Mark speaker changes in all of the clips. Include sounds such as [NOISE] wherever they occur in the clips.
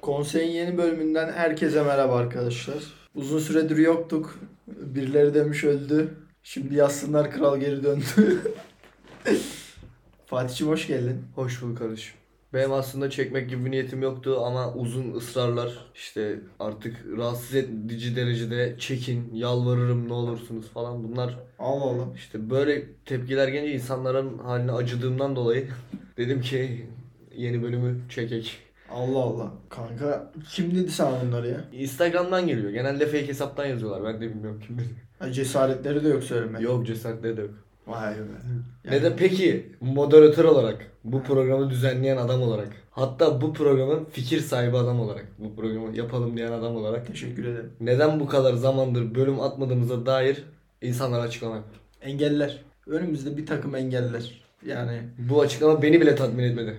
Speaker 1: Konseyin yeni bölümünden herkese merhaba arkadaşlar. Uzun süredir yoktuk. Birileri demiş öldü. Şimdi yazsınlar kral geri döndü. [LAUGHS] Fatih'cim hoş geldin.
Speaker 2: Hoş bulduk kardeşim. Benim aslında çekmek gibi bir niyetim yoktu ama uzun ısrarlar işte artık rahatsız edici derecede çekin, yalvarırım ne olursunuz falan bunlar
Speaker 1: Allah Allah.
Speaker 2: işte böyle tepkiler gelince insanların haline acıdığımdan dolayı [LAUGHS] dedim ki yeni bölümü çekek.
Speaker 1: Allah Allah. Kanka kim dedi sana bunları ya?
Speaker 2: Instagram'dan geliyor. Genelde fake hesaptan yazıyorlar. Ben de bilmiyorum kim dedi. [LAUGHS]
Speaker 1: Ha, cesaretleri de yok söyleme.
Speaker 2: Yok cesaretleri de yok.
Speaker 1: Vay be.
Speaker 2: Ne de peki moderatör olarak, bu programı düzenleyen adam olarak, hatta bu programın fikir sahibi adam olarak, bu programı yapalım diyen adam olarak
Speaker 1: Teşekkür ederim.
Speaker 2: neden bu kadar zamandır bölüm atmadığımıza dair insanlara açıklama yap.
Speaker 1: Engeller. Önümüzde bir takım engeller. Yani
Speaker 2: Bu açıklama beni bile tatmin etmedi.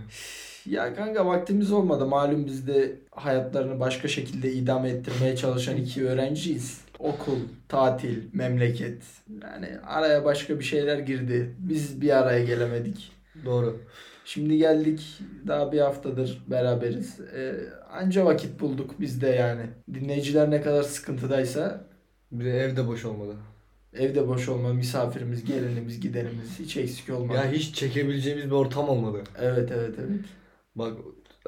Speaker 1: Ya kanka vaktimiz olmadı. Malum biz de hayatlarını başka şekilde idame ettirmeye çalışan iki öğrenciyiz. Okul, tatil, memleket. Yani araya başka bir şeyler girdi. Biz bir araya gelemedik.
Speaker 2: Doğru.
Speaker 1: Şimdi geldik. Daha bir haftadır beraberiz. Ee, anca vakit bulduk biz de yani. Dinleyiciler ne kadar sıkıntıdaysa
Speaker 2: Bir de evde boş olmadı.
Speaker 1: evde boş olma, misafirimiz, gelenimiz, gidenimiz hiç eksik olmadı.
Speaker 2: Ya hiç çekebileceğimiz bir ortam olmadı.
Speaker 1: Evet evet evet.
Speaker 2: Bak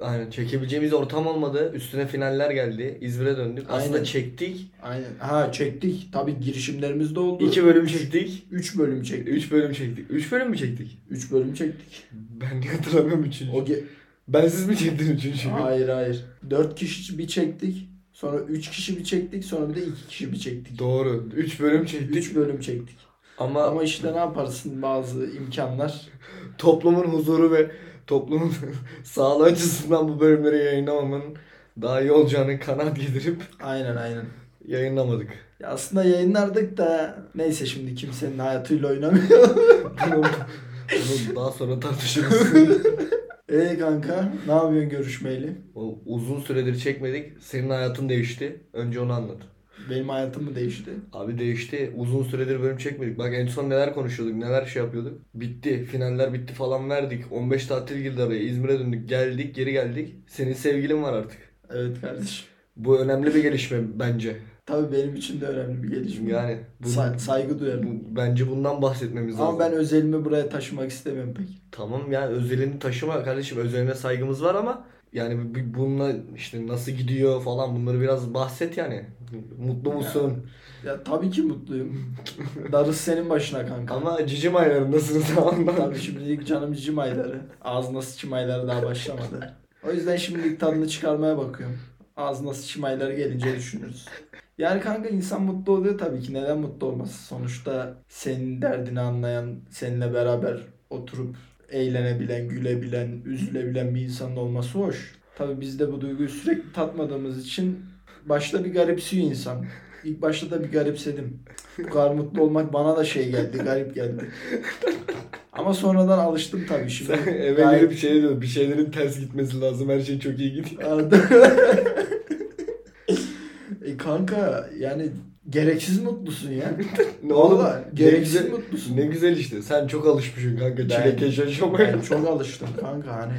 Speaker 2: aynen çekebileceğimiz ortam olmadı. Üstüne finaller geldi. İzmir'e döndük.
Speaker 1: Aynen.
Speaker 2: Aslında çektik.
Speaker 1: Aynen. Ha çektik. Tabii girişimlerimiz de oldu.
Speaker 2: İki bölüm çektik.
Speaker 1: 3 bölüm çektik.
Speaker 2: Üç bölüm çektik. Üç bölüm mü çektik?
Speaker 1: 3 bölüm çektik.
Speaker 2: Ben niye hatırlamıyorum üçüncü?
Speaker 1: O ge-
Speaker 2: Ben siz mi çektin üçüncüyü?
Speaker 1: hayır hayır. 4 kişi bir çektik. Sonra 3 kişi bir çektik. Sonra bir de 2 kişi bir çektik.
Speaker 2: Doğru. 3 bölüm çektik.
Speaker 1: 3 bölüm çektik.
Speaker 2: Ama,
Speaker 1: Ama işte ne yaparsın bazı imkanlar.
Speaker 2: toplumun huzuru ve toplumun [LAUGHS] sağlığı açısından bu bölümleri yayınlamamanın daha iyi olacağını kanaat getirip
Speaker 1: Aynen aynen.
Speaker 2: yayınlamadık.
Speaker 1: Ya aslında yayınlardık da neyse şimdi kimsenin hayatıyla oynamıyor. [LAUGHS]
Speaker 2: Bunu, bunu daha sonra tartışırız.
Speaker 1: Eee Ee kanka ne yapıyorsun görüşmeyle?
Speaker 2: O uzun süredir çekmedik. Senin hayatın değişti. Önce onu anlat.
Speaker 1: Benim hayatım mı değişti?
Speaker 2: Abi değişti. Uzun süredir bölüm çekmedik. Bak en son neler konuşuyorduk, neler şey yapıyorduk. Bitti. Finaller bitti falan verdik. 15 tatil girdi araya. İzmir'e döndük. Geldik, geri geldik. Senin sevgilin var artık.
Speaker 1: Evet kardeşim.
Speaker 2: Bu önemli bir gelişme bence.
Speaker 1: Tabii benim için de önemli bir gelişme.
Speaker 2: Yani bu,
Speaker 1: Sa- saygı duyarım.
Speaker 2: bu- bence bundan bahsetmemiz lazım.
Speaker 1: Ama ben özelimi buraya taşımak istemiyorum pek.
Speaker 2: Tamam yani özelini taşıma kardeşim. Özeline saygımız var ama yani bu- bununla işte nasıl gidiyor falan bunları biraz bahset yani. Mutlu musun?
Speaker 1: Ya tabii ki
Speaker 2: [LAUGHS]
Speaker 1: mutluyum. Darısı senin başına kanka.
Speaker 2: Ama cicim [LAUGHS] aylarındasınız falan.
Speaker 1: Tabii şimdilik canım cicim ayları. Ağzına sıçım ayları daha başlamadı. O yüzden şimdilik tadını çıkarmaya bakıyorum. Ağzına sıçım ayları gelince düşünürüz. Yani kanka insan mutlu oluyor tabii ki. Neden mutlu olması? Sonuçta senin derdini anlayan, seninle beraber oturup eğlenebilen, gülebilen, üzülebilen bir insanın olması hoş. Tabii biz de bu duyguyu sürekli tatmadığımız için başta bir garipsiyor insan. İlk başta da bir garipsedim. Bu kadar mutlu olmak bana da şey geldi, garip geldi. Ama sonradan alıştım tabii şimdi.
Speaker 2: Sen eve
Speaker 1: Gayet-
Speaker 2: gelip şey diyor, bir şeylerin ters gitmesi lazım. Her şey çok iyi gidiyor. [LAUGHS]
Speaker 1: e kanka yani gereksiz mutlusun ya.
Speaker 2: Ne
Speaker 1: Valla
Speaker 2: oğlum,
Speaker 1: gereksiz
Speaker 2: ne güzel,
Speaker 1: mutlusun.
Speaker 2: ne güzel işte. Sen çok alışmışsın kanka
Speaker 1: Ben-
Speaker 2: çilekeş yaşamaya.
Speaker 1: Ben çok alıştım kanka hani.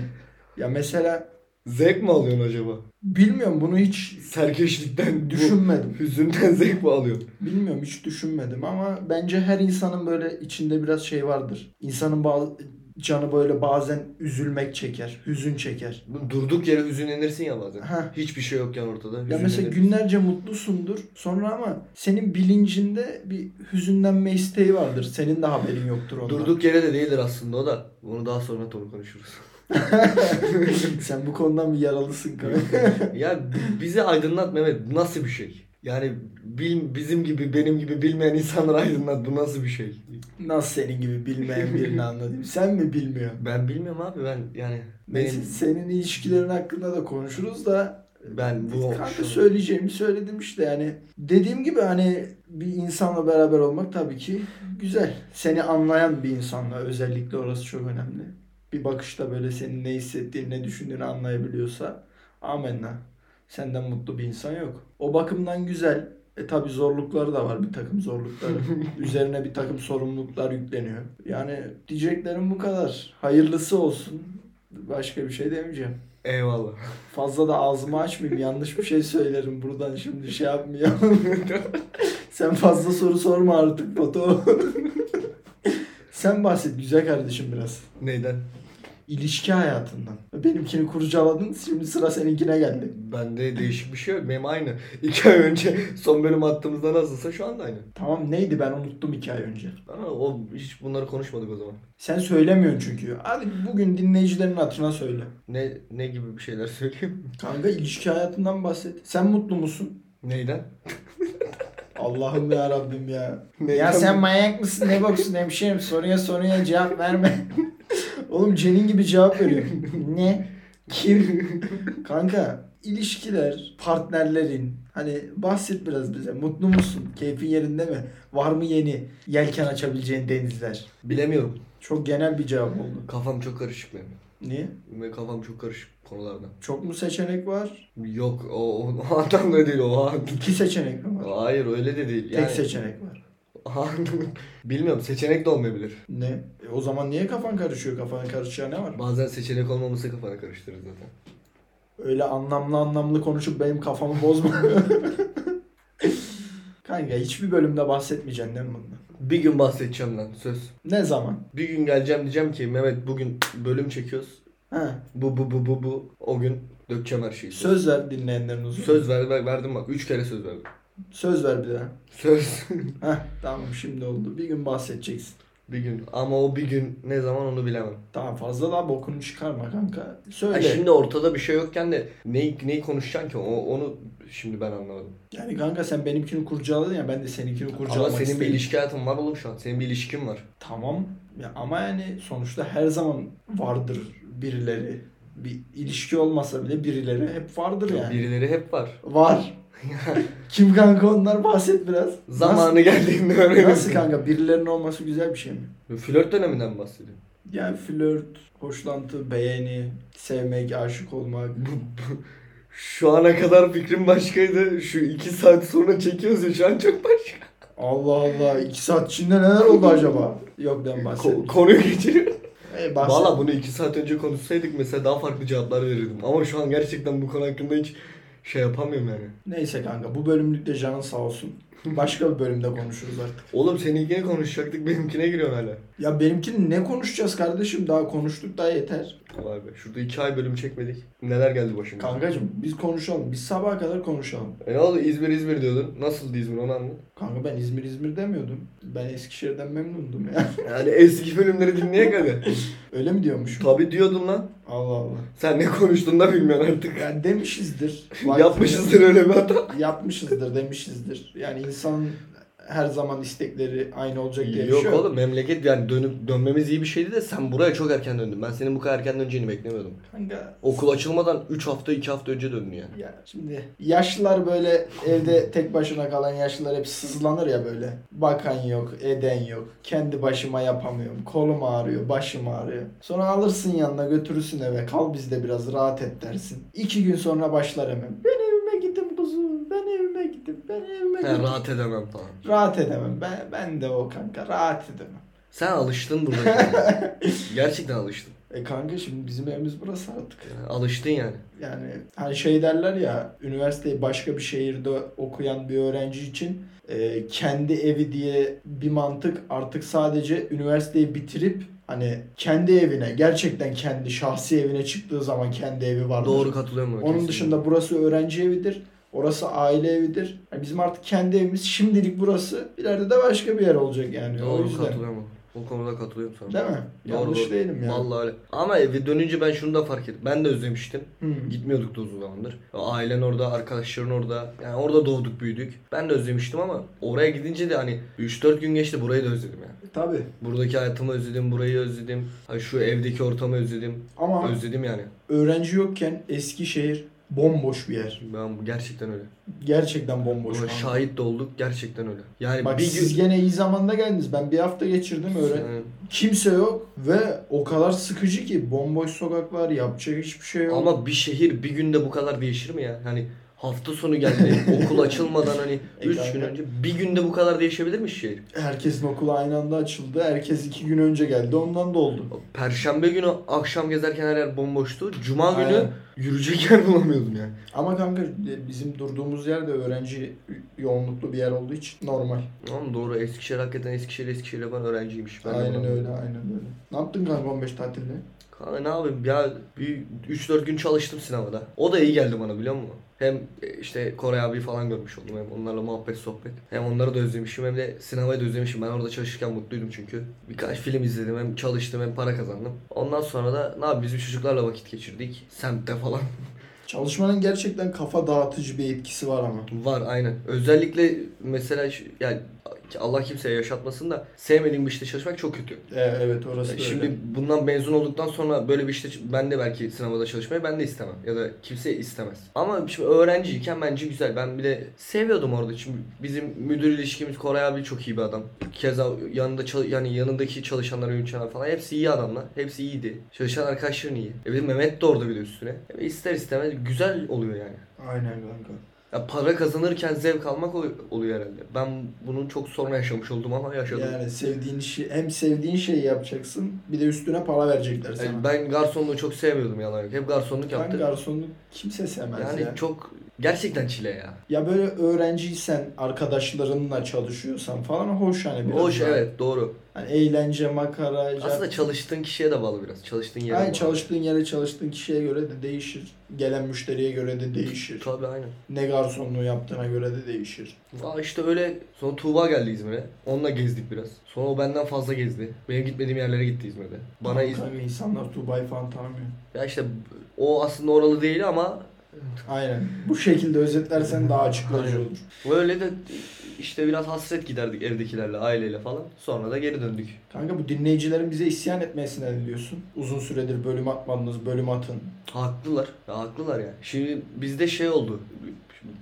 Speaker 1: Ya mesela
Speaker 2: Zevk mi alıyorsun acaba?
Speaker 1: bilmiyorum bunu hiç
Speaker 2: Serkeşlikten, düşün,
Speaker 1: düşünmedim.
Speaker 2: [LAUGHS] hüzünden zevk mi alıyorsun?
Speaker 1: Bilmiyorum hiç düşünmedim ama bence her insanın böyle içinde biraz şey vardır. İnsanın bazı canı böyle bazen üzülmek çeker, hüzün çeker.
Speaker 2: Durduk yere hüzünlenirsin ya bazen.
Speaker 1: Ha.
Speaker 2: Hiçbir şey yokken ortada.
Speaker 1: Ya
Speaker 2: hüzünlenirsin.
Speaker 1: mesela günlerce mutlusundur. Sonra ama senin bilincinde bir hüzünlenme isteği vardır. Senin de haberin yoktur ondan.
Speaker 2: Durduk yere de değildir aslında o da. Bunu daha sonra doğru konuşuruz.
Speaker 1: [LAUGHS] Sen bu konudan bir yaralısın kanka.
Speaker 2: ya b- bizi aydınlat Mehmet. Bu nasıl bir şey? Yani bil, bizim gibi benim gibi bilmeyen insanları aydınlat. Bu nasıl bir şey?
Speaker 1: Nasıl senin gibi bilmeyen birini anlatayım? Sen mi bilmiyorsun?
Speaker 2: Ben bilmiyorum abi ben yani
Speaker 1: Neyse
Speaker 2: benim
Speaker 1: senin ilişkilerin hakkında da konuşuruz da
Speaker 2: ben bu
Speaker 1: Kanka
Speaker 2: şu-
Speaker 1: söyleyeceğimi söyledim işte yani. Dediğim gibi hani bir insanla beraber olmak tabii ki güzel. Seni anlayan bir insanla özellikle orası çok önemli. Bir bakışta böyle senin ne hissettiğini, ne düşündüğünü anlayabiliyorsa amenna. Senden mutlu bir insan yok. O bakımdan güzel. E tabi zorlukları da var bir takım zorlukları. Üzerine bir takım sorumluluklar yükleniyor. Yani diyeceklerim bu kadar. Hayırlısı olsun. Başka bir şey demeyeceğim.
Speaker 2: Eyvallah.
Speaker 1: Fazla da ağzımı açmayayım. Yanlış bir şey söylerim buradan şimdi şey yapmayalım. [LAUGHS] Sen fazla soru sorma artık Batu. Sen bahset güzel kardeşim biraz.
Speaker 2: Neyden?
Speaker 1: İlişki hayatından. Benimkini kurcaladın şimdi sıra seninkine geldi.
Speaker 2: Bende değişik bir şey yok. Benim aynı. İki ay önce son bölüm attığımızda nasılsa şu anda aynı.
Speaker 1: Tamam neydi ben unuttum iki ay önce.
Speaker 2: Aa, o hiç bunları konuşmadık o zaman.
Speaker 1: Sen söylemiyorsun çünkü. Hadi bugün dinleyicilerin hatırına söyle.
Speaker 2: Ne ne gibi bir şeyler söyleyeyim?
Speaker 1: Kanka ilişki hayatından bahset. Sen mutlu musun?
Speaker 2: Neyden?
Speaker 1: Allah'ım ya Rabbim ya.
Speaker 2: Neyden?
Speaker 1: ya sen manyak mısın? Ne boksun hemşerim? Soruya soruya cevap verme. Oğlum Cenin gibi cevap veriyor. ne? Kim? Kanka ilişkiler, partnerlerin hani bahset biraz bize. Mutlu musun? Keyfin yerinde mi? Var mı yeni yelken açabileceğin denizler?
Speaker 2: Bilemiyorum.
Speaker 1: Çok genel bir cevap oldu.
Speaker 2: Kafam çok karışık benim.
Speaker 1: Niye?
Speaker 2: Benim kafam çok karışık konularda.
Speaker 1: Çok mu seçenek var?
Speaker 2: Yok o, o, o anlamda değil o. an-
Speaker 1: İki seçenek mi var?
Speaker 2: Hayır öyle de değil.
Speaker 1: Tek
Speaker 2: [LAUGHS]
Speaker 1: seçenek var.
Speaker 2: Bilmiyorum seçenek de olmayabilir.
Speaker 1: Ne? E, o zaman niye kafan karışıyor? Kafan karışacağı ne var?
Speaker 2: Bazen seçenek olmaması kafanı karıştırır zaten.
Speaker 1: Öyle anlamlı anlamlı konuşup benim kafamı bozma. [LAUGHS] Kanka hiçbir bölümde bahsetmeyeceksin değil mi bundan?
Speaker 2: Bir gün bahsedeceğim lan söz.
Speaker 1: Ne zaman?
Speaker 2: Bir gün geleceğim diyeceğim ki Mehmet bugün bölüm çekiyoruz.
Speaker 1: Ha,
Speaker 2: Bu bu bu bu bu. O gün dökeceğim her şeyi.
Speaker 1: söz ver dinleyenlerin uzun.
Speaker 2: Söz ver, ver- verdim bak. Üç kere söz verdim.
Speaker 1: Söz ver bir daha.
Speaker 2: Söz. [LAUGHS]
Speaker 1: Heh, tamam şimdi oldu. Bir gün bahsedeceksin.
Speaker 2: bir gün. Ama o bir gün ne zaman onu bilemem.
Speaker 1: Tamam fazla daha bokunu çıkarma kanka. Söyle.
Speaker 2: Ha, şimdi ortada bir şey yokken de neyi, neyi konuşacaksın ki? O, onu şimdi ben anlamadım.
Speaker 1: Yani kanka sen benimkini kurcaladın ya ben de seninkini kurcalamak
Speaker 2: Ama senin bir
Speaker 1: istedim.
Speaker 2: ilişki hayatın var oğlum şu an. Senin bir ilişkin var.
Speaker 1: Tamam. Ya ama yani sonuçta her zaman vardır birileri. Bir ilişki olmasa bile birileri hep vardır yani.
Speaker 2: Birileri hep var.
Speaker 1: [LAUGHS] Var. Kim kanka onlar bahset biraz.
Speaker 2: Zamanı geldiğinde
Speaker 1: Nasıl,
Speaker 2: öğrenirsin.
Speaker 1: nasıl kanka birilerinin olması güzel bir şey mi?
Speaker 2: Flört döneminden bahsediyorum.
Speaker 1: Yani flört, hoşlantı, beğeni, sevmek, aşık olmak.
Speaker 2: Şu ana kadar fikrim başkaydı. Şu iki saat sonra çekiyoruz ya. Şu an çok başka.
Speaker 1: Allah Allah iki saat içinde neler oldu acaba? Yok ben
Speaker 2: Ko-
Speaker 1: bahsetmiyorum.
Speaker 2: konuyu geçiriyorum.
Speaker 1: E, bahset.
Speaker 2: Valla bunu iki saat önce konuşsaydık mesela daha farklı cevaplar verirdim. Ama şu an gerçekten bu konu hakkında hiç şey yapamıyorum yani.
Speaker 1: Neyse kanka bu bölümlük de canın sağ [LAUGHS] olsun. Başka bir bölümde konuşuruz artık.
Speaker 2: Oğlum seninkine konuşacaktık benimkine giriyorsun hala.
Speaker 1: Ya benimkini ne konuşacağız kardeşim? Daha konuştuk daha yeter.
Speaker 2: Vay be şurada iki ay bölüm çekmedik. Neler geldi başına?
Speaker 1: Kankacım biz konuşalım. Biz sabaha kadar konuşalım.
Speaker 2: E ne oldu İzmir İzmir diyordun. Nasıldı İzmir onu anlat.
Speaker 1: Kanka ben İzmir İzmir demiyordum. Ben Eskişehir'den memnundum ya.
Speaker 2: Yani eski bölümleri dinleyek [LAUGHS] hadi.
Speaker 1: Öyle mi diyormuşum?
Speaker 2: Tabi diyordun lan.
Speaker 1: Allah Allah.
Speaker 2: Sen ne konuştun da bilmiyorsun artık.
Speaker 1: Yani demişizdir.
Speaker 2: [LAUGHS] Yapmışızdır öyle bir hata.
Speaker 1: Yapmışızdır demişizdir. Yani insan her zaman istekleri aynı olacak diye bir
Speaker 2: Yok
Speaker 1: şey
Speaker 2: oğlum memleket yani dönüp dönmemiz iyi bir şeydi de sen buraya çok erken döndün. Ben senin bu kadar erken döneceğini beklemiyordum.
Speaker 1: Kanka
Speaker 2: Okul açılmadan 3 hafta 2 hafta önce döndün yani.
Speaker 1: ya şimdi yaşlılar böyle evde tek başına kalan yaşlılar hep sızlanır ya böyle. Bakan yok, eden yok. Kendi başıma yapamıyorum. Kolum ağrıyor, başım ağrıyor. Sonra alırsın yanına götürürsün eve. Kal bizde biraz rahat et dersin. İki gün sonra başlar hemen. Ben evime gittim kuzum. Ben evime gittim. Ben evime
Speaker 2: Ben
Speaker 1: gittim.
Speaker 2: rahat edemem falan.
Speaker 1: Rahat edemem. Ben, ben de o kanka. Rahat edemem.
Speaker 2: Sen alıştın burada. [LAUGHS] Gerçekten alıştın.
Speaker 1: E kanka şimdi bizim evimiz burası artık.
Speaker 2: Yani alıştın yani.
Speaker 1: Yani hani şey derler ya üniversiteyi başka bir şehirde okuyan bir öğrenci için e, kendi evi diye bir mantık artık sadece üniversiteyi bitirip hani kendi evine gerçekten kendi şahsi evine çıktığı zaman kendi evi vardır.
Speaker 2: Doğru katılıyorum. buna
Speaker 1: Onun
Speaker 2: kesinlikle.
Speaker 1: dışında burası öğrenci evidir. Orası aile evidir. Yani bizim artık kendi evimiz şimdilik burası. ileride de başka bir yer olacak yani. o
Speaker 2: Doğru
Speaker 1: yüzden.
Speaker 2: katılıyorum. O konuda katılıyorum sana.
Speaker 1: Değil mi?
Speaker 2: Doğru,
Speaker 1: Yanlış
Speaker 2: doğru.
Speaker 1: değilim yani.
Speaker 2: Vallahi öyle. Ama eve dönünce ben şunu da fark ettim. Ben de özlemiştim.
Speaker 1: Hı.
Speaker 2: Gitmiyorduk da uzun zamandır. Ailen orada, arkadaşların orada. Yani orada doğduk, büyüdük. Ben de özlemiştim ama oraya gidince de hani 3-4 gün geçti burayı da özledim yani.
Speaker 1: Tabii.
Speaker 2: Buradaki hayatımı özledim, burayı özledim. Ha şu evdeki ortamı özledim.
Speaker 1: Ama
Speaker 2: Özledim yani.
Speaker 1: öğrenci yokken Eskişehir bomboş bir yer.
Speaker 2: Ben gerçekten öyle.
Speaker 1: Gerçekten bomboş.
Speaker 2: Buna
Speaker 1: kanka.
Speaker 2: şahit de olduk gerçekten öyle. Yani
Speaker 1: Bak
Speaker 2: bir
Speaker 1: siz
Speaker 2: gün
Speaker 1: gene iyi zamanda geldiniz. Ben bir hafta geçirdim öyle.
Speaker 2: Yani-
Speaker 1: Kimse yok ve o kadar sıkıcı ki bomboş sokaklar, yapacak hiçbir şey yok.
Speaker 2: ama bir şehir bir günde bu kadar değişir mi ya? Hani Hafta sonu [LAUGHS] geldi. okul açılmadan hani
Speaker 1: E
Speaker 2: 3
Speaker 1: kanka.
Speaker 2: gün önce. Bir günde bu kadar değişebilir mi şehir?
Speaker 1: Herkesin okulu aynı anda açıldı. Herkes iki gün önce geldi. Ondan da oldu.
Speaker 2: Perşembe günü akşam gezerken her yer bomboştu. Cuma günü
Speaker 1: Aynen.
Speaker 2: yürüyecek yer [LAUGHS] bulamıyordum yani.
Speaker 1: Ama kanka e, bizim durduğumuz yer de öğrenci yoğunluklu bir yer olduğu için normal.
Speaker 2: Tamam doğru Eskişehir hakikaten Eskişehir Eskişehir yapan öğrenciymiş. Ben de
Speaker 1: aynen
Speaker 2: ona-
Speaker 1: öyle, aynen öyle. Ne yaptın kanka 15 tatilde?
Speaker 2: Kanka ne yapayım ya bir 3-4 gün çalıştım sinemada. O da iyi geldi bana biliyor musun? Hem e, işte Kore abi falan görmüş oldum hem onlarla muhabbet sohbet. Hem onları da özlemişim hem de sinemayı da özlemişim. Ben orada çalışırken mutluydum çünkü. Birkaç film izledim hem çalıştım hem para kazandım. Ondan sonra da ne yapayım biz bir çocuklarla vakit geçirdik. Semtte falan. [LAUGHS]
Speaker 1: Çalışmanın gerçekten kafa dağıtıcı bir etkisi var ama.
Speaker 2: Var aynen. Özellikle mesela şu- yani Allah kimseye yaşatmasın da sevmediğim bir işte çalışmak çok kötü.
Speaker 1: E, evet orası da
Speaker 2: Ee, Şimdi
Speaker 1: öyle.
Speaker 2: bundan mezun olduktan sonra böyle bir işte ben de belki sinemada çalışmayı ben de istemem ya da kimse istemez. Ama şimdi öğrenciyken bence güzel. Ben bir de seviyordum orada. Şimdi bizim müdür ilişkimiz Koray abi çok iyi bir adam. Keza yanında çal- yani yanındaki çalışanlar, yöneticiler falan hepsi iyi adamlar. Hepsi iyiydi. Çalışan arkadaşların iyi. E bir de Mehmet de orada bir de üstüne. E ister istemez güzel oluyor yani.
Speaker 1: Aynen kanka.
Speaker 2: Ya para kazanırken zevk almak ol- oluyor herhalde. Ben bunu çok sonra yaşamış oldum ama yaşadım.
Speaker 1: Yani sevdiğin işi hem sevdiğin şeyi yapacaksın bir de üstüne para verecekler sana.
Speaker 2: Yani E, ben garsonluğu çok sevmiyordum yalan yok. Hep garsonluk
Speaker 1: Ben
Speaker 2: yaptım.
Speaker 1: garsonluk kimse sevmez
Speaker 2: Yani
Speaker 1: ya.
Speaker 2: çok gerçekten çile ya.
Speaker 1: Ya böyle öğrenciysen, arkadaşlarınla çalışıyorsan falan hoş hani biraz.
Speaker 2: Hoş
Speaker 1: daha.
Speaker 2: evet doğru.
Speaker 1: Hani eğlence, makara,
Speaker 2: Aslında çalıştığın kişiye de bağlı biraz. Çalıştığın yere
Speaker 1: Yani
Speaker 2: bağlı.
Speaker 1: çalıştığın yere, çalıştığın kişiye göre de değişir. Gelen müşteriye göre de değişir.
Speaker 2: Tabii aynen.
Speaker 1: Ne garsonluğu yaptığına göre de değişir.
Speaker 2: Aa işte öyle. Sonra Tuğba geldi İzmir'e. Onunla gezdik biraz. Sonra o benden fazla gezdi. Benim gitmediğim yerlere gitti İzmir'de. Bana İz-
Speaker 1: Tabii insanlar Dubai falan tanımıyor.
Speaker 2: Ya işte o aslında oralı değil ama
Speaker 1: Aynen. Bu şekilde özetlersen daha açıklayıcı
Speaker 2: Aynen.
Speaker 1: olur.
Speaker 2: böyle de işte biraz hasret giderdik evdekilerle, aileyle falan. Sonra da geri döndük.
Speaker 1: Kanka bu dinleyicilerin bize isyan etmesine ne diyorsun? Uzun süredir bölüm atmadınız, bölüm atın.
Speaker 2: Haklılar. Ya haklılar ya. Şimdi bizde şey oldu.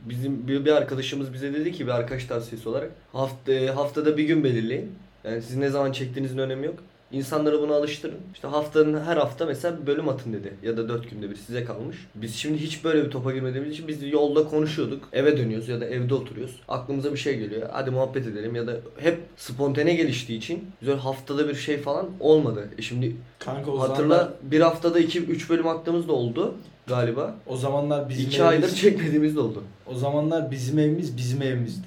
Speaker 2: Bizim bir, bir arkadaşımız bize dedi ki bir arkadaş tavsiyesi olarak hafta haftada bir gün belirleyin. Yani siz ne zaman çektiğinizin önemi yok. İnsanları buna alıştırın. İşte haftanın her hafta mesela bir bölüm atın dedi. Ya da dört günde bir size kalmış. Biz şimdi hiç böyle bir topa girmediğimiz için biz yolda konuşuyorduk. Eve dönüyoruz ya da evde oturuyoruz. Aklımıza bir şey geliyor. Hadi muhabbet edelim ya da hep spontane geliştiği için güzel haftada bir şey falan olmadı. E şimdi
Speaker 1: Kanka o zamanlar,
Speaker 2: Hatırla bir haftada 2-3 bölüm attığımız da oldu galiba.
Speaker 1: o zamanlar bizim
Speaker 2: 2 aydır çekmediğimiz de oldu.
Speaker 1: O zamanlar bizim evimiz bizim evimizdi.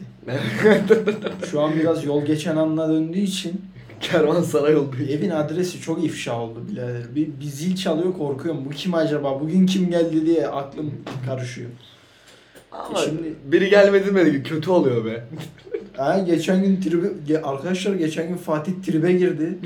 Speaker 1: Şu an biraz yol geçen anla döndüğü için
Speaker 2: [LAUGHS] Kervansaray oldu.
Speaker 1: evin adresi çok ifşa oldu birader. Bir, bir zil çalıyor korkuyorum. Bu kim acaba? Bugün kim geldi diye aklım karışıyor.
Speaker 2: Ama
Speaker 1: Şimdi-
Speaker 2: biri gelmedi mi kötü oluyor be.
Speaker 1: Ha, geçen gün tribe, ge- arkadaşlar geçen gün Fatih tribe
Speaker 2: [LAUGHS]
Speaker 1: girdi.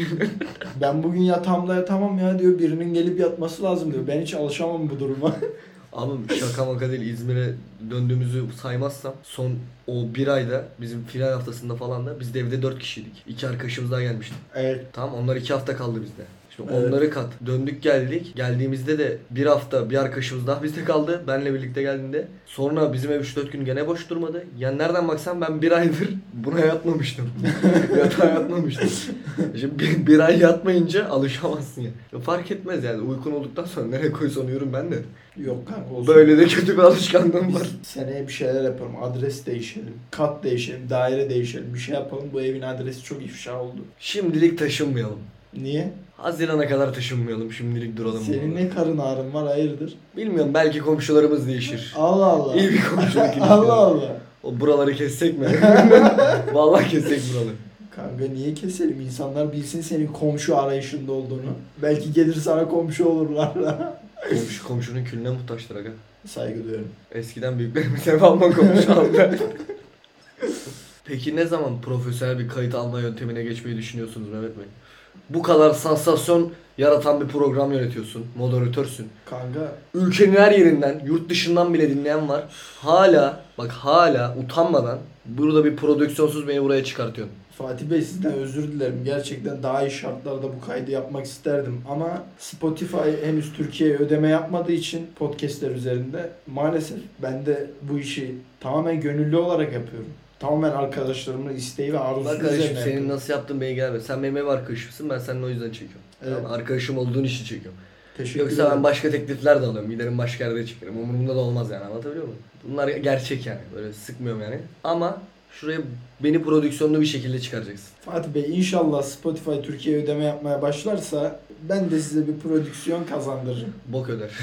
Speaker 1: ben bugün yatağımda yatamam ya diyor. Birinin gelip yatması lazım diyor. Ben hiç alışamam bu duruma. [LAUGHS]
Speaker 2: Ama şaka maka değil İzmir'e döndüğümüzü saymazsam son o bir ayda bizim final haftasında falan da biz de evde 4 kişiydik. 2 arkadaşımız daha gelmişti.
Speaker 1: evet.
Speaker 2: Tamam onlar 2 hafta kaldı bizde. Şimdi
Speaker 1: Evet.
Speaker 2: onları kat. Döndük geldik. Geldiğimizde de bir hafta bir arkadaşımız daha bizde kaldı. Benle birlikte geldiğinde. Sonra bizim ev 3-4 gün gene boş durmadı. Ya nereden baksan ben bir aydır
Speaker 1: [LAUGHS]
Speaker 2: buna yatmamıştım. Yatağa yatmamıştım. Şimdi bir, bir ay yatmayınca alışamazsın ya. Ya Fark etmez yani. Uykun olduktan sonra nereye koysan uyurum ben de.
Speaker 1: Yok kanka olsun.
Speaker 2: Böyle de kötü bir alışkanlığım var.
Speaker 1: Biz seneye bir şeyler yapalım. Adres değişelim. Kat değişelim. Daire değişelim. Bir şey yapalım. Bu evin adresi çok ifşa oldu.
Speaker 2: Şimdilik taşınmayalım.
Speaker 1: Niye?
Speaker 2: Haziran'a kadar taşınmayalım. Şimdilik duralım.
Speaker 1: Senin
Speaker 2: burada.
Speaker 1: ne karın ağrın var hayırdır?
Speaker 2: Bilmiyorum belki komşularımız değişir.
Speaker 1: Allah Allah. [LAUGHS]
Speaker 2: İyi bir komşuluk ilişkileri.
Speaker 1: Allah Allah.
Speaker 2: O buraları kessek mi? Vallahi kessek buraları.
Speaker 1: Kanka niye keselim? İnsanlar bilsin senin komşu arayışında olduğunu. Belki gelir sana komşu olurlar [LAUGHS] da.
Speaker 2: Komşu komşunun külüne muhtaçtır aga.
Speaker 1: Saygı duyarım.
Speaker 2: Eskiden büyüklerimiz hep Alman komşu aldı. Peki ne zaman profesyonel bir kayıt alma yöntemine geçmeyi düşünüyorsunuz Mehmet Bey? Bu kadar sansasyon yaratan bir program yönetiyorsun, moderatörsün.
Speaker 1: Kanka
Speaker 2: Ülkenin her yerinden, yurt dışından bile dinleyen var. Hala, bak hala utanmadan burada bir prodüksiyonsuz beni buraya çıkartıyorsun.
Speaker 1: Fatih Bey sizden özür dilerim. Gerçekten daha iyi şartlarda bu kaydı yapmak isterdim. Ama Spotify henüz Türkiye'ye ödeme yapmadığı için podcastler üzerinde maalesef ben de bu işi tamamen gönüllü olarak yapıyorum. Tamamen arkadaşlarımın isteği ve arzusu
Speaker 2: Bak
Speaker 1: üzerine
Speaker 2: kardeşim
Speaker 1: yapıyorum.
Speaker 2: senin nasıl yaptığın beni gelmez. Sen benim ev arkadaşımsın ben seninle o yüzden çekiyorum.
Speaker 1: Evet.
Speaker 2: Tamam, arkadaşım olduğun işi çekiyorum.
Speaker 1: Teşekkür
Speaker 2: Yoksa
Speaker 1: ederim.
Speaker 2: ben başka teklifler de alıyorum. Giderim başka yerde çıkarım. Umurumda da olmaz yani anlatabiliyor muyum? Bunlar gerçek yani. Böyle sıkmıyorum yani. Ama şuraya beni prodüksiyonlu bir şekilde çıkaracaksın.
Speaker 1: Fatih Bey inşallah Spotify Türkiye ödeme yapmaya başlarsa ben de size bir prodüksiyon kazandırırım.
Speaker 2: Bok öder. [LAUGHS]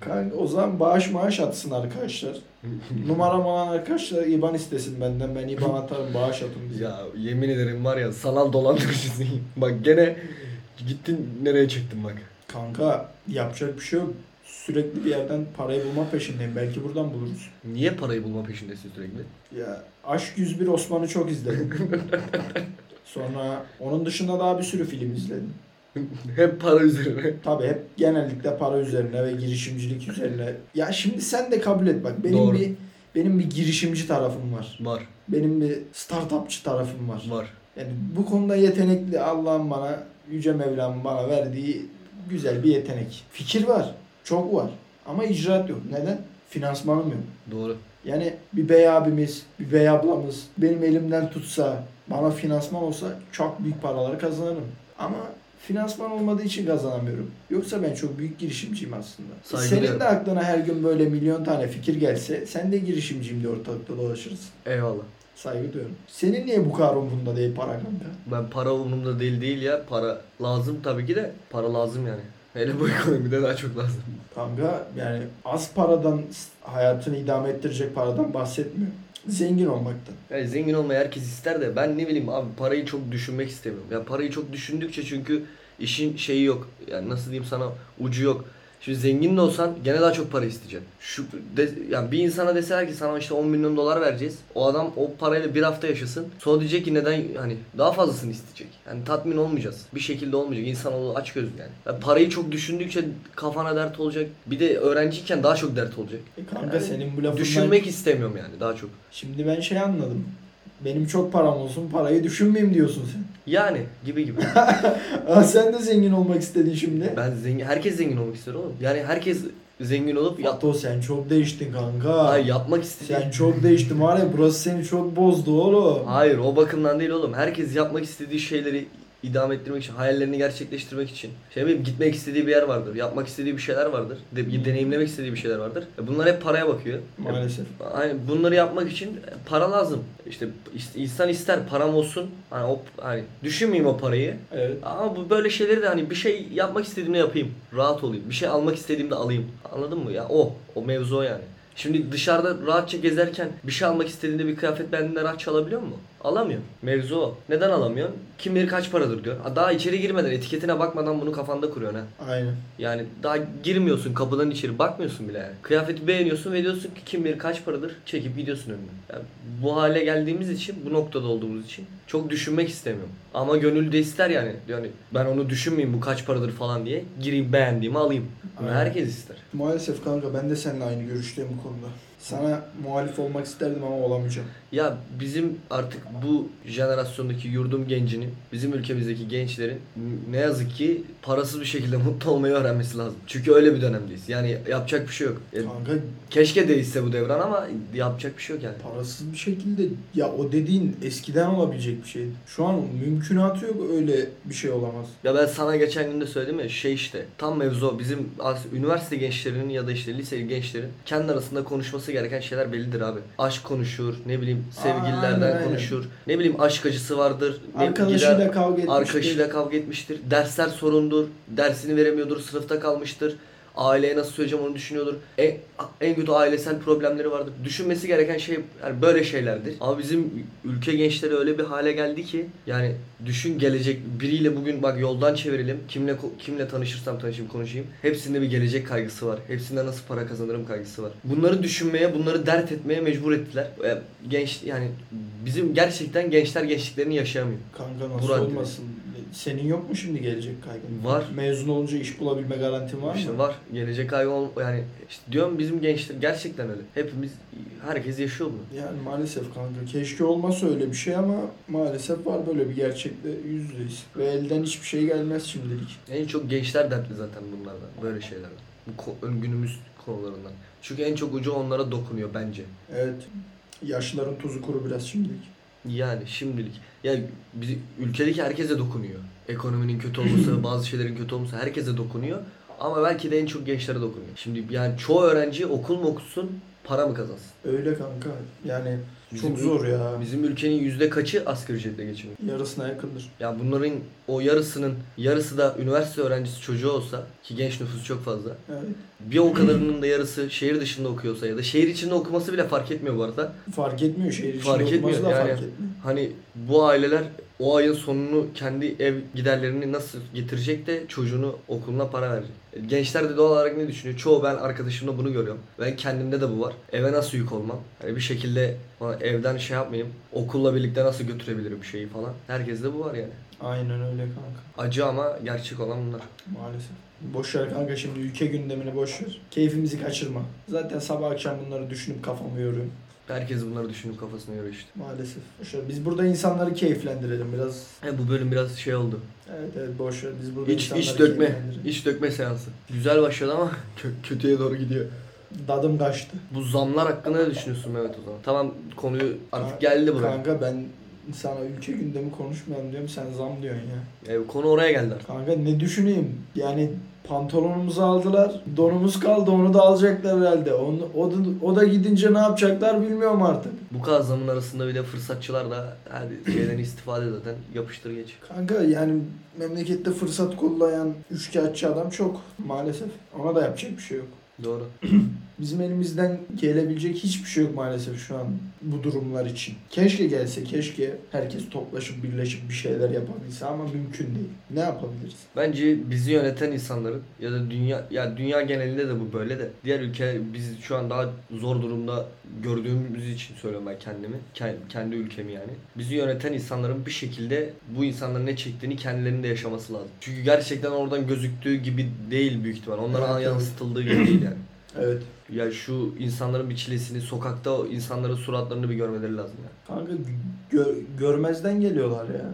Speaker 1: Kanka o zaman bağış maaş atsın
Speaker 2: [LAUGHS]
Speaker 1: arkadaşlar. Numaram olan arkadaşlar IBAN istesin benden. Ben
Speaker 2: [LAUGHS]
Speaker 1: IBAN atarım bağış atın diye.
Speaker 2: ya yemin ederim var ya sanal dolandırıcısın. [LAUGHS] bak gene gittin nereye çıktın bak.
Speaker 1: Kanka yapacak bir şey yok. Sürekli bir yerden parayı bulma peşindeyim. Belki buradan buluruz.
Speaker 2: Niye parayı bulma peşindesin sürekli? [LAUGHS]
Speaker 1: Ya Aşk 101 Osman'ı çok izledim. Sonra onun dışında daha bir sürü film izledim.
Speaker 2: Hep para üzerine.
Speaker 1: Tabii hep genellikle para üzerine ve girişimcilik üzerine. Ya şimdi sen de kabul et bak. Benim
Speaker 2: Doğru.
Speaker 1: bir benim bir girişimci tarafım var.
Speaker 2: Var,
Speaker 1: Benim bir startupçı tarafım var.
Speaker 2: var.
Speaker 1: Yani bu konuda yetenekli Allah'ın bana, Yüce Mevlam bana verdiği güzel bir yetenek. Fikir var, çok var ama icraat yok. Neden? Finansmanım yok.
Speaker 2: Doğru.
Speaker 1: Yani bir bey abimiz, bir bey ablamız benim elimden tutsa, bana finansman olsa çok büyük paraları kazanırım. Ama finansman olmadığı için kazanamıyorum. Yoksa ben çok büyük girişimciyim aslında.
Speaker 2: Saygı
Speaker 1: Senin
Speaker 2: duyarım.
Speaker 1: de aklına her gün böyle milyon tane fikir gelse sen de girişimciyim diye ortalıkta dolaşırsın.
Speaker 2: Eyvallah.
Speaker 1: Saygı duyuyorum. Senin niye bu kadar umurunda değil para kanka?
Speaker 2: Ben para umurumda değil değil ya. Para lazım tabii ki de. Para lazım yani. Hele bu [LAUGHS] ekonomide daha çok lazım.
Speaker 1: Kanka yani az paradan hayatını idame ettirecek paradan bahsetmiyor. Zengin olmaktan.
Speaker 2: Yani zengin olmayı herkes ister de ben ne bileyim abi parayı çok düşünmek istemiyorum. Ya parayı çok düşündükçe çünkü işin şeyi yok. Yani nasıl diyeyim sana ucu yok. Şimdi zengin de olsan gene daha çok para isteyeceksin. Şu de, yani bir insana deseler ki sana işte 10 milyon dolar vereceğiz. O adam o parayla bir hafta yaşasın. Sonra diyecek ki neden hani daha fazlasını isteyecek. Yani tatmin olmayacağız. Bir şekilde olmayacak. İnsanoğlu aç gözlü yani. Ya parayı çok düşündükçe kafana dert olacak. Bir de öğrenciyken daha çok dert olacak.
Speaker 1: E kanka
Speaker 2: Yani
Speaker 1: senin bu lafından...
Speaker 2: Düşünmek istemiyorum yani daha çok.
Speaker 1: Şimdi ben şey anladım. Benim çok param olsun parayı düşünmeyeyim diyorsun sen. [LAUGHS]
Speaker 2: Yani gibi gibi.
Speaker 1: Aa, sen de zengin olmak istedin şimdi.
Speaker 2: Ben zengin, herkes zengin olmak istiyor oğlum. Yani herkes zengin olup yap,
Speaker 1: Yato sen çok değiştin kanka.
Speaker 2: Hayır, yapmak istiyor.
Speaker 1: Sen çok değiştin var ya burası seni çok bozdu oğlum.
Speaker 2: Hayır, o bakımdan değil oğlum. Herkes yapmak istediği şeyleri idame ettirmek için, hayallerini gerçekleştirmek için. Şey bileyim, gitmek istediği bir yer vardır, yapmak istediği bir şeyler vardır, de, deneyimlemek istediği bir şeyler vardır. E Bunlar hep paraya bakıyor.
Speaker 1: Hmm. Maalesef.
Speaker 2: Hani bunları yapmak için para lazım. İşte is- insan ister param olsun. Hani o hani düşünmeyeyim o parayı.
Speaker 1: Evet.
Speaker 2: Ama bu böyle şeyleri de hani bir şey yapmak istediğimde yapayım. Rahat olayım. Bir şey almak istediğimde alayım. Anladın mı ya? O. O mevzu o yani. Şimdi dışarıda rahatça gezerken bir şey almak istediğinde bir kıyafet beğendiğinde rahatça alabiliyor mu? Alamıyor. Mevzu o. Neden alamıyor? Kim bilir kaç paradır diyor. Ha, Daha içeri girmeden etiketine bakmadan bunu kafanda kuruyorsun ha.
Speaker 1: Aynen.
Speaker 2: Yani daha girmiyorsun kapıdan içeri bakmıyorsun bile yani. Kıyafeti beğeniyorsun ve diyorsun ki kim bilir kaç paradır çekip gidiyorsun önüne. Yani bu hale geldiğimiz için bu noktada olduğumuz için çok düşünmek istemiyorum. Ama gönül de ister yani. Yani ben onu düşünmeyeyim bu kaç paradır falan diye gireyim beğendiğimi alayım. Bunu
Speaker 1: Aynen.
Speaker 2: herkes ister.
Speaker 1: Maalesef kanka ben de seninle aynı görüşteyim bu konuda. Sana muhalif olmak isterdim ama olamayacağım.
Speaker 2: Ya bizim artık bu jenerasyondaki yurdum gencinin, bizim ülkemizdeki gençlerin ne yazık ki parasız bir şekilde [LAUGHS] mutlu olmayı öğrenmesi lazım. Çünkü öyle bir dönemdeyiz. Yani yapacak bir şey yok. Ya
Speaker 1: Kanka
Speaker 2: Keşke değişse bu devran ama yapacak bir şey yok yani.
Speaker 1: parasız bir şekilde ya o dediğin eskiden olabilecek bir şeydi. Şu an mümkünatı yok öyle bir şey olamaz.
Speaker 2: Ya ben sana geçen gün de söyledim ya şey işte tam mevzu o. bizim as- üniversite gençlerinin ya da işte lise gençlerin kendi arasında konuşması gereken şeyler bellidir abi. Aşk konuşur, ne bileyim sevgililerden
Speaker 1: aynen, aynen.
Speaker 2: konuşur, ne bileyim aşk acısı vardır. ne-
Speaker 1: Arkadaşıyla
Speaker 2: gider-
Speaker 1: kavga etmişti.
Speaker 2: arkadaşıyla kavga etmiştir. Dersler sorundur. Dersini veremiyordur. Sınıfta kalmıştır. Aileye nasıl söyleyeceğim onu düşünüyordur. En, en kötü ailesel problemleri vardır. Düşünmesi gereken şey yani böyle şeylerdir. Ama bizim ülke gençleri öyle bir hale geldi ki yani düşün gelecek biriyle bugün bak yoldan çevirelim. Kimle ko- kimle tanışırsam tanışayım konuşayım. Hepsinde bir gelecek kaygısı var. Hepsinde nasıl para kazanırım kaygısı var. Bunları düşünmeye, bunları dert etmeye mecbur ettiler. E, Genç yani bizim gerçekten gençler gençliklerini yaşayamıyor.
Speaker 1: Kanka nasıl
Speaker 2: Burak dedi.
Speaker 1: olmasın? Senin yok mu şimdi gelecek kaygın?
Speaker 2: Var.
Speaker 1: Mezun olunca iş bulabilme garantin var
Speaker 2: İşte
Speaker 1: mı?
Speaker 2: var. Gelecek ay ol yani işte diyorum bizim gençler gerçekten öyle. Hepimiz herkes yaşıyor bunu.
Speaker 1: Yani maalesef kanka keşke olmasa öyle bir şey ama maalesef var böyle bir gerçekle yüz yüzeyiz. Ve elden hiçbir şey gelmez şimdilik.
Speaker 2: En çok gençler dertli zaten bunlardan, böyle şeylerden. Bu ko- ön- günümüz konularından. Çünkü en çok ucu onlara dokunuyor bence.
Speaker 1: Evet. Yaşlıların tuzu kuru biraz şimdilik.
Speaker 2: Yani şimdilik. Yani bizi, ülkedeki herkese dokunuyor. Ekonominin
Speaker 1: [LAUGHS]
Speaker 2: kötü olması, bazı şeylerin kötü olması herkese dokunuyor. Ama belki de en çok gençlere dokunuyor. Şimdi yani çoğu öğrenci okul mu okusun, para mı kazansın?
Speaker 1: Öyle kanka. Yani
Speaker 2: Bizim
Speaker 1: çok zor ya.
Speaker 2: Bizim ülkenin yüzde kaçı asgari ücretle geçiniyor?
Speaker 1: Yarısına yakındır.
Speaker 2: Ya bunların o yarısının yarısı da üniversite öğrencisi çocuğu olsa ki genç nüfus çok fazla.
Speaker 1: Evet.
Speaker 2: Bir o kadarının da yarısı şehir dışında okuyorsa ya da şehir içinde okuması bile fark etmiyor bu arada.
Speaker 1: Fark etmiyor şehir içinde
Speaker 2: Fark
Speaker 1: olması
Speaker 2: etmiyor
Speaker 1: da
Speaker 2: yani.
Speaker 1: fark etmiyor.
Speaker 2: Hani bu aileler o ayın sonunu kendi ev giderlerini nasıl getirecek de çocuğunu okuluna para verecek. Gençler de doğal olarak ne düşünüyor? Çoğu ben arkadaşımda bunu görüyorum. Ben kendimde de bu var. Eve nasıl yük olmam? Hani bir şekilde falan evden şey yapmayayım. Okulla birlikte nasıl götürebilirim şeyi falan. Herkeste bu var yani.
Speaker 1: Aynen öyle kanka.
Speaker 2: Acı ama gerçek olan bunlar.
Speaker 1: Maalesef. Boş ver kanka şimdi ülke gündemini boş ver. Keyfimizi kaçırma. Zaten sabah akşam bunları düşünüp kafamı yoruyorum.
Speaker 2: Herkes bunları düşünüp kafasına göre işte.
Speaker 1: Maalesef. Boş ver. Biz burada insanları keyiflendirelim biraz.
Speaker 2: He, bu bölüm biraz şey oldu.
Speaker 1: Evet evet boş ver. Biz burada
Speaker 2: İç,
Speaker 1: insanları
Speaker 2: iç dökme.
Speaker 1: keyiflendirelim.
Speaker 2: iç dökme seansı. Güzel başladı ama [LAUGHS] kö- kötüye doğru gidiyor.
Speaker 1: Dadım kaçtı.
Speaker 2: Bu zamlar hakkında ne düşünüyorsun Mehmet o zaman? Tamam konuyu artık
Speaker 1: Ka-
Speaker 2: geldi buraya.
Speaker 1: Kanka ben sana ülke gündemi konuşmayalım diyorum sen zam diyorsun ya.
Speaker 2: E, konu oraya geldi artık.
Speaker 1: Kanka ne düşüneyim? Yani pantolonumuzu aldılar. Donumuz kaldı. Onu da alacaklar herhalde. Onu, o, da, o da gidince ne yapacaklar bilmiyorum artık.
Speaker 2: Bu kadar zamın arasında bile fırsatçılar da her şeyden istifade zaten yapıştır geç.
Speaker 1: Kanka yani memlekette fırsat kollayan üçkağıtçı adam çok maalesef. Ona da yapacak bir şey yok.
Speaker 2: Doğru.
Speaker 1: Bizim elimizden gelebilecek hiçbir şey yok maalesef şu an bu durumlar için. Keşke gelse, keşke herkes toplaşıp birleşip bir şeyler yapabilse ama mümkün değil. Ne yapabiliriz?
Speaker 2: Bence bizi yöneten insanların ya da dünya ya dünya genelinde de bu böyle de diğer ülke biz şu an daha zor durumda gördüğümüz için söylüyorum ben kendimi. Ke- kendi ülkemi yani. Bizi yöneten insanların bir şekilde bu insanların ne çektiğini kendilerinin de yaşaması lazım. Çünkü gerçekten oradan gözüktüğü gibi değil büyük ihtimal. Onlara
Speaker 1: Evet, evet.
Speaker 2: yansıtıldığı gibi değil yani.
Speaker 1: Evet.
Speaker 2: Ya şu insanların bir çilesini, sokakta o insanların suratlarını bir görmeleri lazım ya.
Speaker 1: Kanka gö- görmezden geliyorlar ya.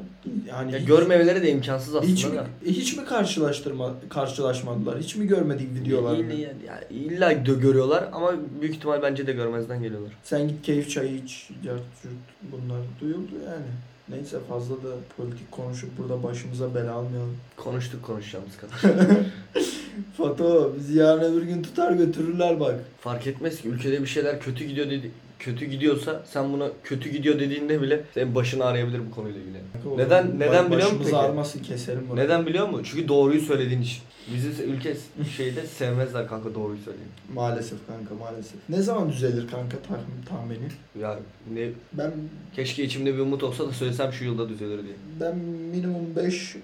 Speaker 1: Yani
Speaker 2: Ya
Speaker 1: hiç-
Speaker 2: görmemeleri de imkansız aslında
Speaker 1: Hiç mi,
Speaker 2: da.
Speaker 1: hiç mi karşılaştırma karşılaşmadılar? Hiç mi görmedik videolar?
Speaker 2: İlla, ya, illa gö- görüyorlar ama büyük ihtimal bence de görmezden geliyorlar.
Speaker 1: Sen git keyif çayı iç, cart curt. bunlar duyuldu yani. Neyse fazla da politik konuşup burada başımıza bela almayalım. [LAUGHS]
Speaker 2: Konuştuk konuşacağımız kadar.
Speaker 1: Fato bizi yarın öbür gün tutar götürürler bak.
Speaker 2: Fark etmez ki ülkede bir şeyler kötü gidiyor dedi kötü gidiyorsa sen buna kötü gidiyor dediğinde bile senin başını arayabilir bu konuyla ilgili. Neden-
Speaker 1: Bak,
Speaker 2: neden biliyor musun
Speaker 1: Başımızı
Speaker 2: peki?
Speaker 1: ağrımasın keselim bunu.
Speaker 2: Neden biliyor musun? Çünkü doğruyu söylediğin için. Bizi ülke şeyde sevmezler kanka doğruyu söyleyin.
Speaker 1: Maalesef kanka maalesef. Ne zaman düzelir kanka tahmin tahmini?
Speaker 2: Ya ne
Speaker 1: Ben
Speaker 2: keşke içimde bir umut olsa da söylesem şu yılda düzelir diye.
Speaker 1: ben minimum 5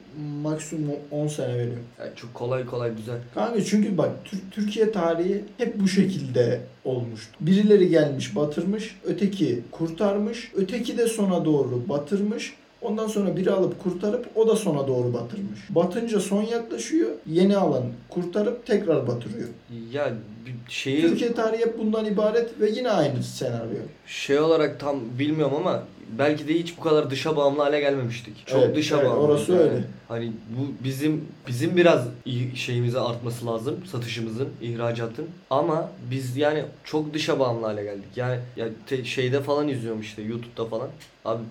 Speaker 1: maksimum 10 sene veriyorum.
Speaker 2: Yani çok kolay kolay düzel.
Speaker 1: Kanka çünkü bak Tür- Türkiye tarihi hep bu şekilde olmuştu. Birileri gelmiş batırmış, öteki kurtarmış, öteki de sona doğru batırmış. Ondan sonra biri alıp kurtarıp o da sona doğru batırmış. Batınca son yaklaşıyor, yeni alan kurtarıp tekrar batırıyor.
Speaker 2: Ya bir şeyi
Speaker 1: Türkiye tarihi hep bundan ibaret ve yine aynı senaryo.
Speaker 2: şey olarak tam bilmiyorum ama belki de hiç bu kadar dışa bağımlı hale gelmemiştik. Çok
Speaker 1: Evet,
Speaker 2: dışa
Speaker 1: evet,
Speaker 2: bağımlı.
Speaker 1: orası öyle.
Speaker 2: Hani bu bizim bizim biraz i- şeyimize artması lazım. Satışımızın, ihracatın. Ama biz yani çok dışa bağımlı hale geldik. Yani ya te- şeyde falan izliyorum işte YouTube'da falan. Abi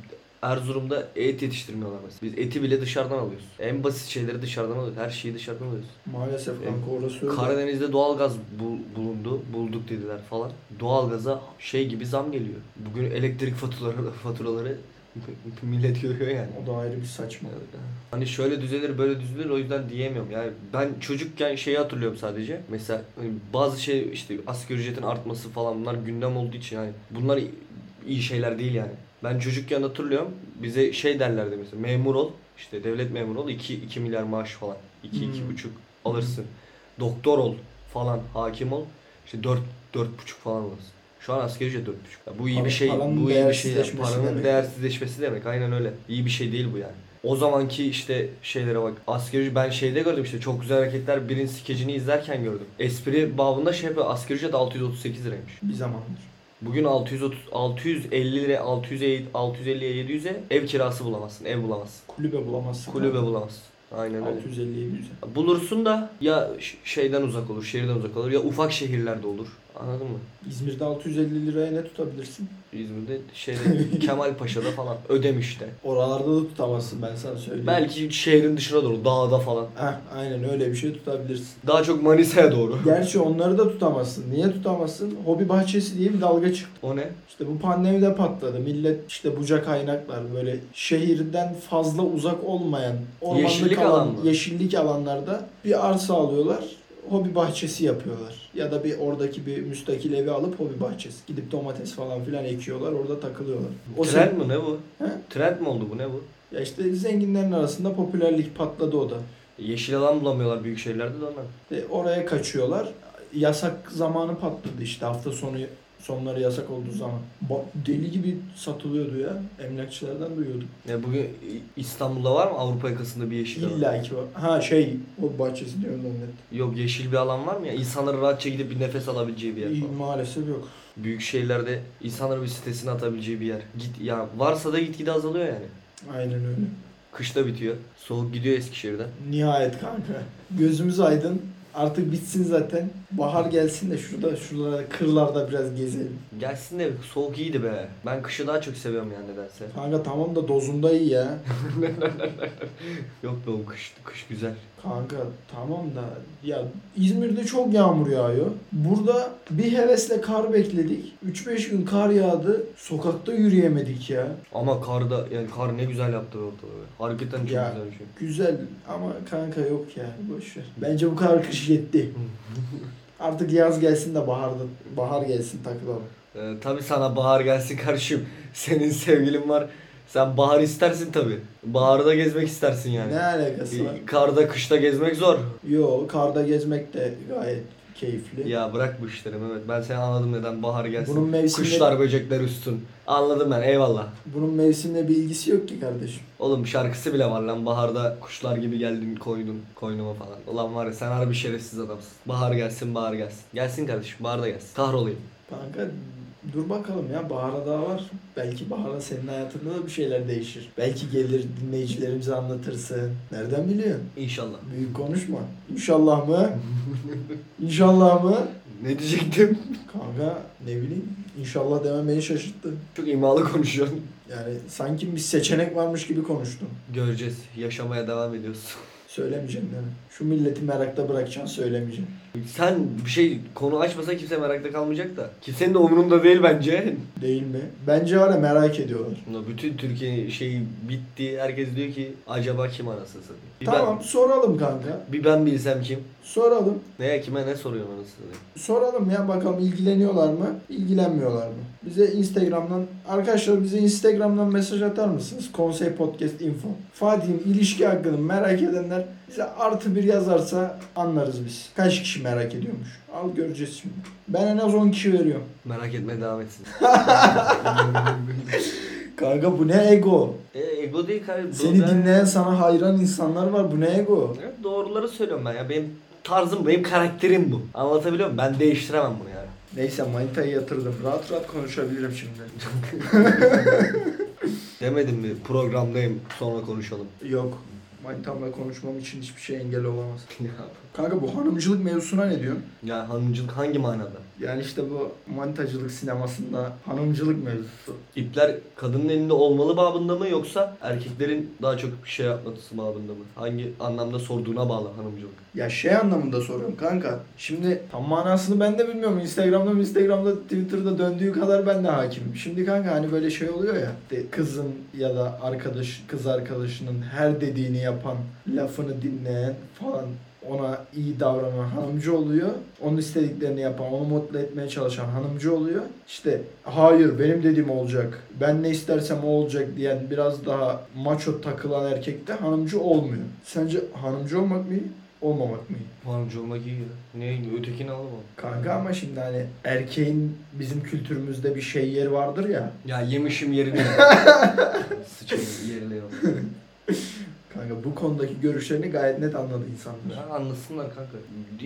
Speaker 2: Erzurum'da et yetiştirmiyorlar mesela. Biz eti bile dışarıdan alıyoruz. En basit şeyleri dışarıdan alıyoruz. Her şeyi dışarıdan alıyoruz. E,
Speaker 1: Maalesef kanka orası öyle.
Speaker 2: Karadeniz'de doğalgaz bu- bulundu, bulduk dediler falan. Doğalgaza şey gibi zam geliyor. Bugün elektrik faturaları, faturaları millet görüyor yani.
Speaker 1: O da ayrı bir saçma.
Speaker 2: Hani şöyle düzelir böyle düzelir o yüzden diyemiyorum. Yani ben çocukken şeyi hatırlıyorum sadece. Mesela hani bazı şey işte asgari ücretin artması falan bunlar gündem olduğu için yani bunlar iyi şeyler değil yani. Ben çocukken hatırlıyorum bize şey derlerdi mesela memur ol işte devlet memuru ol 2, 2 milyar maaş falan 2
Speaker 1: Hmm.
Speaker 2: 2,5 alırsın. Doktor ol falan hakim ol işte 4 4,5 falan alırsın. Şu an asgari ücret 4,5. Ya bu iyi
Speaker 1: Para-
Speaker 2: bir şey.
Speaker 1: paranın
Speaker 2: Bu iyi bir şey. Yani.
Speaker 1: değersizleşmesi
Speaker 2: Paranın
Speaker 1: demek.
Speaker 2: değersizleşmesi demek. Aynen öyle. İyi bir şey değil bu yani. O zamanki işte şeylere bak. Asgari ben şeyde gördüm işte çok güzel hareketler birin skecini izlerken gördüm. Espri babında şey yapıyor. Asgari ücret 638 liraymış.
Speaker 1: Bir zamandır.
Speaker 2: Bugün 630 650 lira 600 650'ye 700'e ev kirası bulamazsın. Ev bulamazsın.
Speaker 1: Kulübe bulamazsın.
Speaker 2: Kulübe bulamazsın. Aynen öyle.
Speaker 1: 650'ye 100'e.
Speaker 2: Bulursun da ya ş- şeyden uzak olur, şehirden uzak olur ya ufak şehirlerde olur. Anladın mı?
Speaker 1: İzmir'de 650 liraya ne tutabilirsin?
Speaker 2: İzmir'de şeyde [LAUGHS] Kemal Paşa'da falan ödemişte.
Speaker 1: Oralarda da tutamazsın ben sana söyleyeyim.
Speaker 2: Belki şehrin dışına doğru dağda falan.
Speaker 1: Heh, aynen öyle bir şey tutabilirsin.
Speaker 2: Daha çok Manisa'ya doğru.
Speaker 1: Gerçi onları da tutamazsın. Niye tutamazsın? Hobi bahçesi diye bir dalga çıktı.
Speaker 2: O ne?
Speaker 1: İşte bu pandemide patladı. Millet işte buca kaynaklar böyle şehirden fazla uzak olmayan ormanlık
Speaker 2: Yeşillik
Speaker 1: alan,
Speaker 2: alan mı?
Speaker 1: yeşillik alanlarda bir arsa alıyorlar. Hobi bahçesi yapıyorlar. Ya da bir oradaki bir müstakil evi alıp hobi bahçesi. Gidip domates falan filan ekiyorlar. Orada takılıyorlar. O
Speaker 2: Trend
Speaker 1: sen-
Speaker 2: mi ne bu?
Speaker 1: He?
Speaker 2: Trend mi oldu bu ne bu?
Speaker 1: Ya işte zenginlerin arasında popülerlik patladı o da.
Speaker 2: Yeşil alan bulamıyorlar büyük şehirlerde de ondan.
Speaker 1: E, oraya kaçıyorlar. Yasak zamanı patladı işte hafta sonu sonları yasak olduğu zaman. Ba- deli gibi satılıyordu ya. Emlakçılardan duyuyorduk.
Speaker 2: Ya bugün İ- İstanbul'da var mı Avrupa yakasında bir yeşil alan?
Speaker 1: İlla ki var. Ha şey o bahçesi diyorum zannettim.
Speaker 2: Yok yeşil bir alan var mı ya? İnsanların rahatça gidip bir nefes alabileceği bir yer
Speaker 1: İyi,
Speaker 2: falan.
Speaker 1: Maalesef yok.
Speaker 2: Büyük şehirlerde insanların bir stresini atabileceği bir yer. Git ya varsa da gitgide azalıyor yani.
Speaker 1: Aynen öyle.
Speaker 2: Kışta bitiyor. Soğuk gidiyor Eskişehir'den.
Speaker 1: Nihayet kanka. Gözümüz aydın. Artık bitsin zaten. Bahar gelsin de şurada şuralarda kırlarda biraz gezelim.
Speaker 2: Gelsin de soğuk iyiydi be. Ben kışı daha çok seviyorum yani nedense.
Speaker 1: Kanka tamam da dozunda iyi ya.
Speaker 2: Yok be o kış, kış güzel.
Speaker 1: Kanka tamam da ya İzmir'de çok yağmur yağıyor. Burada bir hevesle kar bekledik. 3-5 gün kar yağdı. Sokakta yürüyemedik ya.
Speaker 2: Ama kar da yani kar ne güzel yaptı ortalığı. be. Hakikaten çok
Speaker 1: Ya.
Speaker 2: güzel bir şey.
Speaker 1: Güzel ama kanka yok ya boşver. Bence bu kadar kış yetti. Artık yaz gelsin de baharda bahar gelsin takılalım.
Speaker 2: Ee, tabii sana bahar gelsin [LAUGHS] kardeşim. Senin sevgilin var. Sen bahar istersin tabii. Baharda gezmek istersin yani.
Speaker 1: Ne alakası var?
Speaker 2: Ee, Karda kışta gezmek zor.
Speaker 1: Yo karda gezmek de gayet keyifli.
Speaker 2: Ya bırak bu işleri Mehmet. Ben seni anladım neden bahar gelsin.
Speaker 1: Bunun mevsimleri-
Speaker 2: Kuşlar böcekler üstün. Anladım ben eyvallah.
Speaker 1: Bunun mevsimle bir ilgisi yok ki kardeşim.
Speaker 2: Oğlum şarkısı bile var lan baharda kuşlar gibi geldin koydun koynuma falan. Ulan var ya sen harbi şerefsiz adamsın. Bahar gelsin bahar gelsin. Gelsin kardeşim bahar da gelsin. Kahrolayım.
Speaker 1: Kanka dur bakalım ya bahara daha var. Belki bahara senin hayatında da bir şeyler değişir. Belki gelir dinleyicilerimize anlatırsın. Nereden biliyorsun?
Speaker 2: İnşallah.
Speaker 1: Büyük konuşma. İnşallah mı? İnşallah mı?
Speaker 2: Ne diyecektim?
Speaker 1: Kanka ne bileyim. İnşallah demem beni şaşırttı.
Speaker 2: Çok imalı konuşuyorsun.
Speaker 1: Yani sanki bir seçenek varmış gibi konuştum.
Speaker 2: Göreceğiz. Yaşamaya devam ediyoruz.
Speaker 1: Söylemeyeceğim yani. Şu milleti merakta bırakacaksın söylemeyeceğim.
Speaker 2: Sen bir şey konu açmasa kimse merakta kalmayacak da. Kimsenin de umurunda değil bence.
Speaker 1: Değil mi? Bence var ya merak ediyorlar.
Speaker 2: Ulan Bütün Türkiye şeyi bitti. Herkes diyor ki acaba kim anasını satayım? Bir
Speaker 1: Tamam soralım kanka.
Speaker 2: ben, bir ben bilsem kim?
Speaker 1: Soralım.
Speaker 2: Neye kime ne soruyorum anasını satayım?
Speaker 1: Soralım ya bakalım ilgileniyorlar mı? İlgilenmiyorlar mı? Bize Instagram'dan arkadaşlar bize Instagram'dan mesaj atar mısınız? Konsey Podcast Info. Fatih'in ilişki hakkını merak edenler bize artı bir yazarsa anlarız biz. Kaç kişi merak ediyormuş? Al göreceğiz şimdi. Ben en az 10 kişi veriyorum.
Speaker 2: Merak etmeye devam etsin.
Speaker 1: Kanka bu ne ego?
Speaker 2: E, ego değil kardeşim.
Speaker 1: Seni
Speaker 2: ben-
Speaker 1: dinleyen sana hayran insanlar var. Bu ne ego?
Speaker 2: Evet, Doğruları söylüyorum ben ya. Benim tarzım, benim karakterim bu. Anlatabiliyor muyum? Ben değiştiremem bunu yani.
Speaker 1: Neyse manitayı yatırdım. Rahat rahat konuşabilirim şimdi.
Speaker 2: Demedim mi programdayım sonra konuşalım. [LAUGHS]
Speaker 1: Yok. Manitamla konuşmam için hiçbir şey engel olamaz. Kanka bu hanımcılık mevzusuna ne diyorsun?
Speaker 2: ya hanımcılık hangi manada?
Speaker 1: Yani işte bu manitacılık sinemasında hanımcılık mevzusu.
Speaker 2: İpler kadının elinde olmalı babında mı yoksa erkeklerin daha çok bir şey yapması babında mı? Hangi anlamda sorduğuna bağlı hanımcılık.
Speaker 1: Ya şey anlamında soruyorum kanka. Şimdi tam manasını ben de bilmiyorum. Instagram'da Instagram'da Twitter'da döndüğü kadar ben de hakimim. Şimdi kanka hani böyle şey oluyor ya. de kızın ya da arkadaş kız arkadaşının her dediğini yapan, lafını dinleyen falan ona iyi davranan hanımcı oluyor. Onun istediklerini yapan, onu mutlu etmeye çalışan hanımcı oluyor. İşte hayır benim dediğim olacak, ben ne istersem o olacak diyen biraz daha maço takılan erkekte hanımcı olmuyor. Sence hanımcı olmak mı iyi? olmamak mı? iyi?
Speaker 2: Hanımcı olmak iyi ya. Ne ötekini alamam.
Speaker 1: Kanka ama şimdi hani erkeğin bizim kültürümüzde bir şey yeri vardır ya.
Speaker 2: Ya yemişim yerini. [LAUGHS] Sıçayım yerine yok.
Speaker 1: Kanka bu konudaki görüşlerini gayet net anladı insanlar.
Speaker 2: Ya anlasınlar kanka.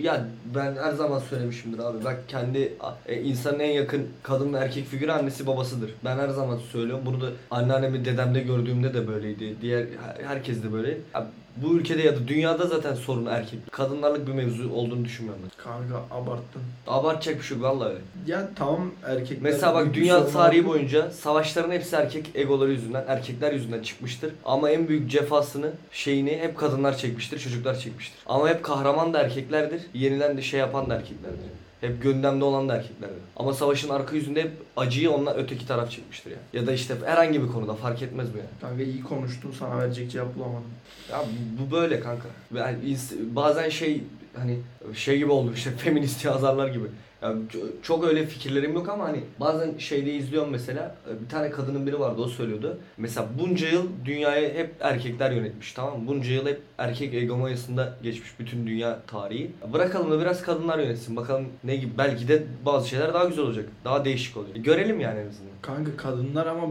Speaker 2: Ya ben her zaman söylemişimdir abi. Bak kendi e, insanın en yakın kadın ve erkek figürü annesi babasıdır. Ben her zaman söylüyorum. Bunu da anneannemi dedemde gördüğümde de böyleydi. Diğer her- herkes de böyle. Ya Bu ülkede ya da dünyada zaten sorun erkek. Kadınlarlık bir mevzu olduğunu düşünmüyorum ben.
Speaker 1: Kanka abarttın.
Speaker 2: Abartacak bir şey yok vallahi.
Speaker 1: Ya tamam erkekler...
Speaker 2: Mesela bak
Speaker 1: büyük bir
Speaker 2: dünya
Speaker 1: sorun
Speaker 2: tarihi
Speaker 1: oldu.
Speaker 2: boyunca savaşların hepsi erkek egoları yüzünden, erkekler yüzünden çıkmıştır. Ama en büyük cefasını, şeyini hep kadınlar çekmiştir, çocuklar çekmiştir. Ama hep kahraman da erkeklerdir, yenilen de şey yapan da erkeklerdir. Hep gündemde olan da erkeklerdir. Ama savaşın arka yüzünde hep acıyı onlar öteki taraf çekmiştir ya. Ya da işte herhangi bir konuda fark etmez bu yani.
Speaker 1: Kanka iyi konuştum sana verecek cevap bulamadım.
Speaker 2: Ya bu- bu böyle kanka. Yani ins- bazen şey hani şey gibi oldu [LAUGHS] işte feminist yazarlar gibi. Ya ço- çok öyle fikirlerim yok ama hani bazen şeyde izliyorum mesela e, bir tane kadının biri vardı o söylüyordu. Mesela bunca yıl dünyayı hep erkekler yönetmiş tamam mı? Bunca yıl hep erkek egomanyasında geçmiş bütün dünya tarihi. Bırakalım da biraz kadınlar yönetsin bakalım ne gibi belki de bazı şeyler daha güzel olacak. Daha değişik olacak. Görelim yani en azından.
Speaker 1: Kanka kadınlar ama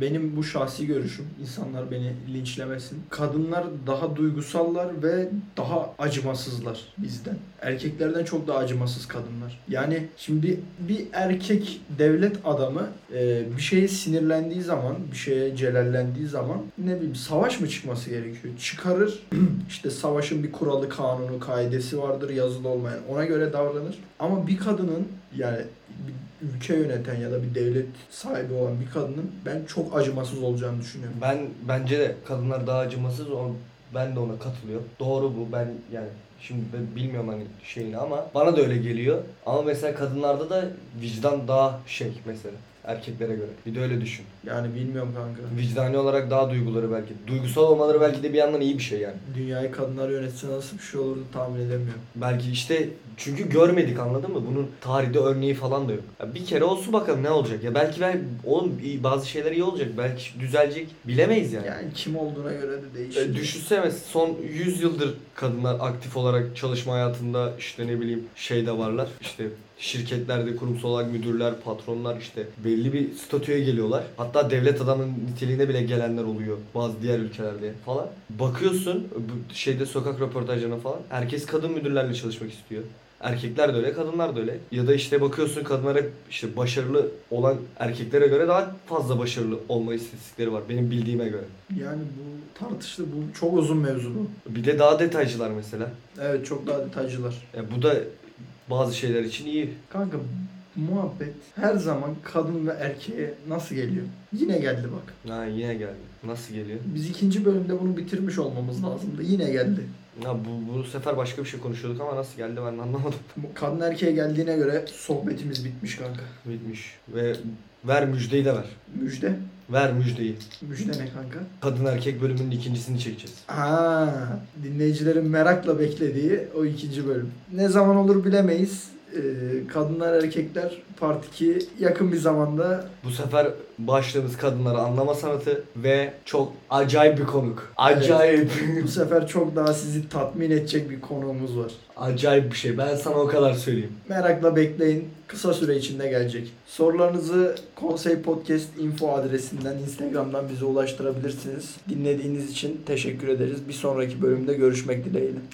Speaker 1: benim bu şahsi görüşüm. insanlar beni linçlemesin. Kadınlar daha duygusallar ve daha acımasızlar bizden. Erkeklerden çok daha acımasız kadınlar. Yani şimdi bir erkek devlet adamı e, bir şeye sinirlendiği zaman, bir şeye celallendiği zaman ne bileyim savaş mı çıkması gerekiyor? Çıkarır. işte savaşın bir kuralı, kanunu, kaidesi vardır yazılı olmayan. Ona göre davranır. Ama bir kadının yani bir ülke yöneten ya da bir devlet sahibi olan bir kadının ben çok acımasız olacağını düşünüyorum.
Speaker 2: Ben bence de kadınlar daha acımasız. O, ben de ona katılıyorum. Doğru bu. Ben yani şimdi ben bilmiyorum hani şeyini ama bana da öyle geliyor. Ama mesela kadınlarda da vicdan daha şey mesela erkeklere göre. Bir de öyle düşün.
Speaker 1: Yani bilmiyorum kanka.
Speaker 2: Vicdani olarak daha duyguları belki. Duygusal olmaları belki de bir yandan iyi bir şey yani.
Speaker 1: Dünyayı kadınlar yönetse nasıl bir şey olurdu tahmin edemiyorum.
Speaker 2: Belki işte çünkü görmedik anladın mı? Bunun tarihte örneği falan da yok. Ya bir kere olsun bakalım ne olacak. Ya belki ben oğlum iyi- bazı şeyler iyi olacak. Belki düzelecek. Bilemeyiz yani.
Speaker 1: Yani kim olduğuna göre de değişir.
Speaker 2: E, düşünsene son 100 yıldır kadınlar aktif olarak çalışma hayatında işte ne bileyim şeyde varlar. İşte şirketlerde kurumsal olarak müdürler, patronlar işte belli bir statüye geliyorlar. Hatta devlet adamın niteliğine bile gelenler oluyor bazı diğer ülkelerde falan. Bakıyorsun bu şeyde sokak röportajlarına falan herkes kadın müdürlerle çalışmak istiyor. Erkekler de öyle, kadınlar da öyle. Ya da işte bakıyorsun kadınlar hep işte başarılı olan erkeklere göre daha fazla başarılı olma istatistikleri var benim bildiğime göre.
Speaker 1: Yani bu tartışlı bu çok uzun mevzu bu.
Speaker 2: Bir de daha detaycılar mesela.
Speaker 1: Evet çok daha detaycılar.
Speaker 2: E, bu da bazı şeyler için iyi.
Speaker 1: Kanka muhabbet her zaman kadın ve erkeğe nasıl geliyor? Yine geldi bak.
Speaker 2: Ha yine geldi. Nasıl geliyor?
Speaker 1: Biz ikinci bölümde bunu bitirmiş olmamız lazımdı. Yine geldi.
Speaker 2: Ya bu, bu sefer başka bir şey konuşuyorduk ama nasıl geldi ben de anlamadım. [LAUGHS]
Speaker 1: Bu Kadın erkeğe geldiğine göre sohbetimiz bitmiş kanka.
Speaker 2: Bitmiş. Ve ver müjdeyi de ver.
Speaker 1: Müjde.
Speaker 2: Ver müjdeyi.
Speaker 1: Müjde ne kanka?
Speaker 2: Kadın erkek bölümünün ikincisini çekeceğiz.
Speaker 1: Ha, dinleyicilerin merakla beklediği o ikinci bölüm. Ne zaman olur bilemeyiz. Ee, kadınlar erkekler part 2 yakın bir zamanda
Speaker 2: Bu sefer başlığımız kadınları anlama sanatı ve çok acayip bir konuk. Acayip.
Speaker 1: bu sefer çok daha sizi tatmin edecek bir konuğumuz var.
Speaker 2: [LAUGHS] acayip bir şey. Ben sana o kadar söyleyeyim.
Speaker 1: Merakla bekleyin. Kısa süre içinde gelecek. Sorularınızı Konsey Podcast info adresinden Instagram'dan bize ulaştırabilirsiniz. Dinlediğiniz için teşekkür ederiz. Bir sonraki bölümde görüşmek dileğiyle.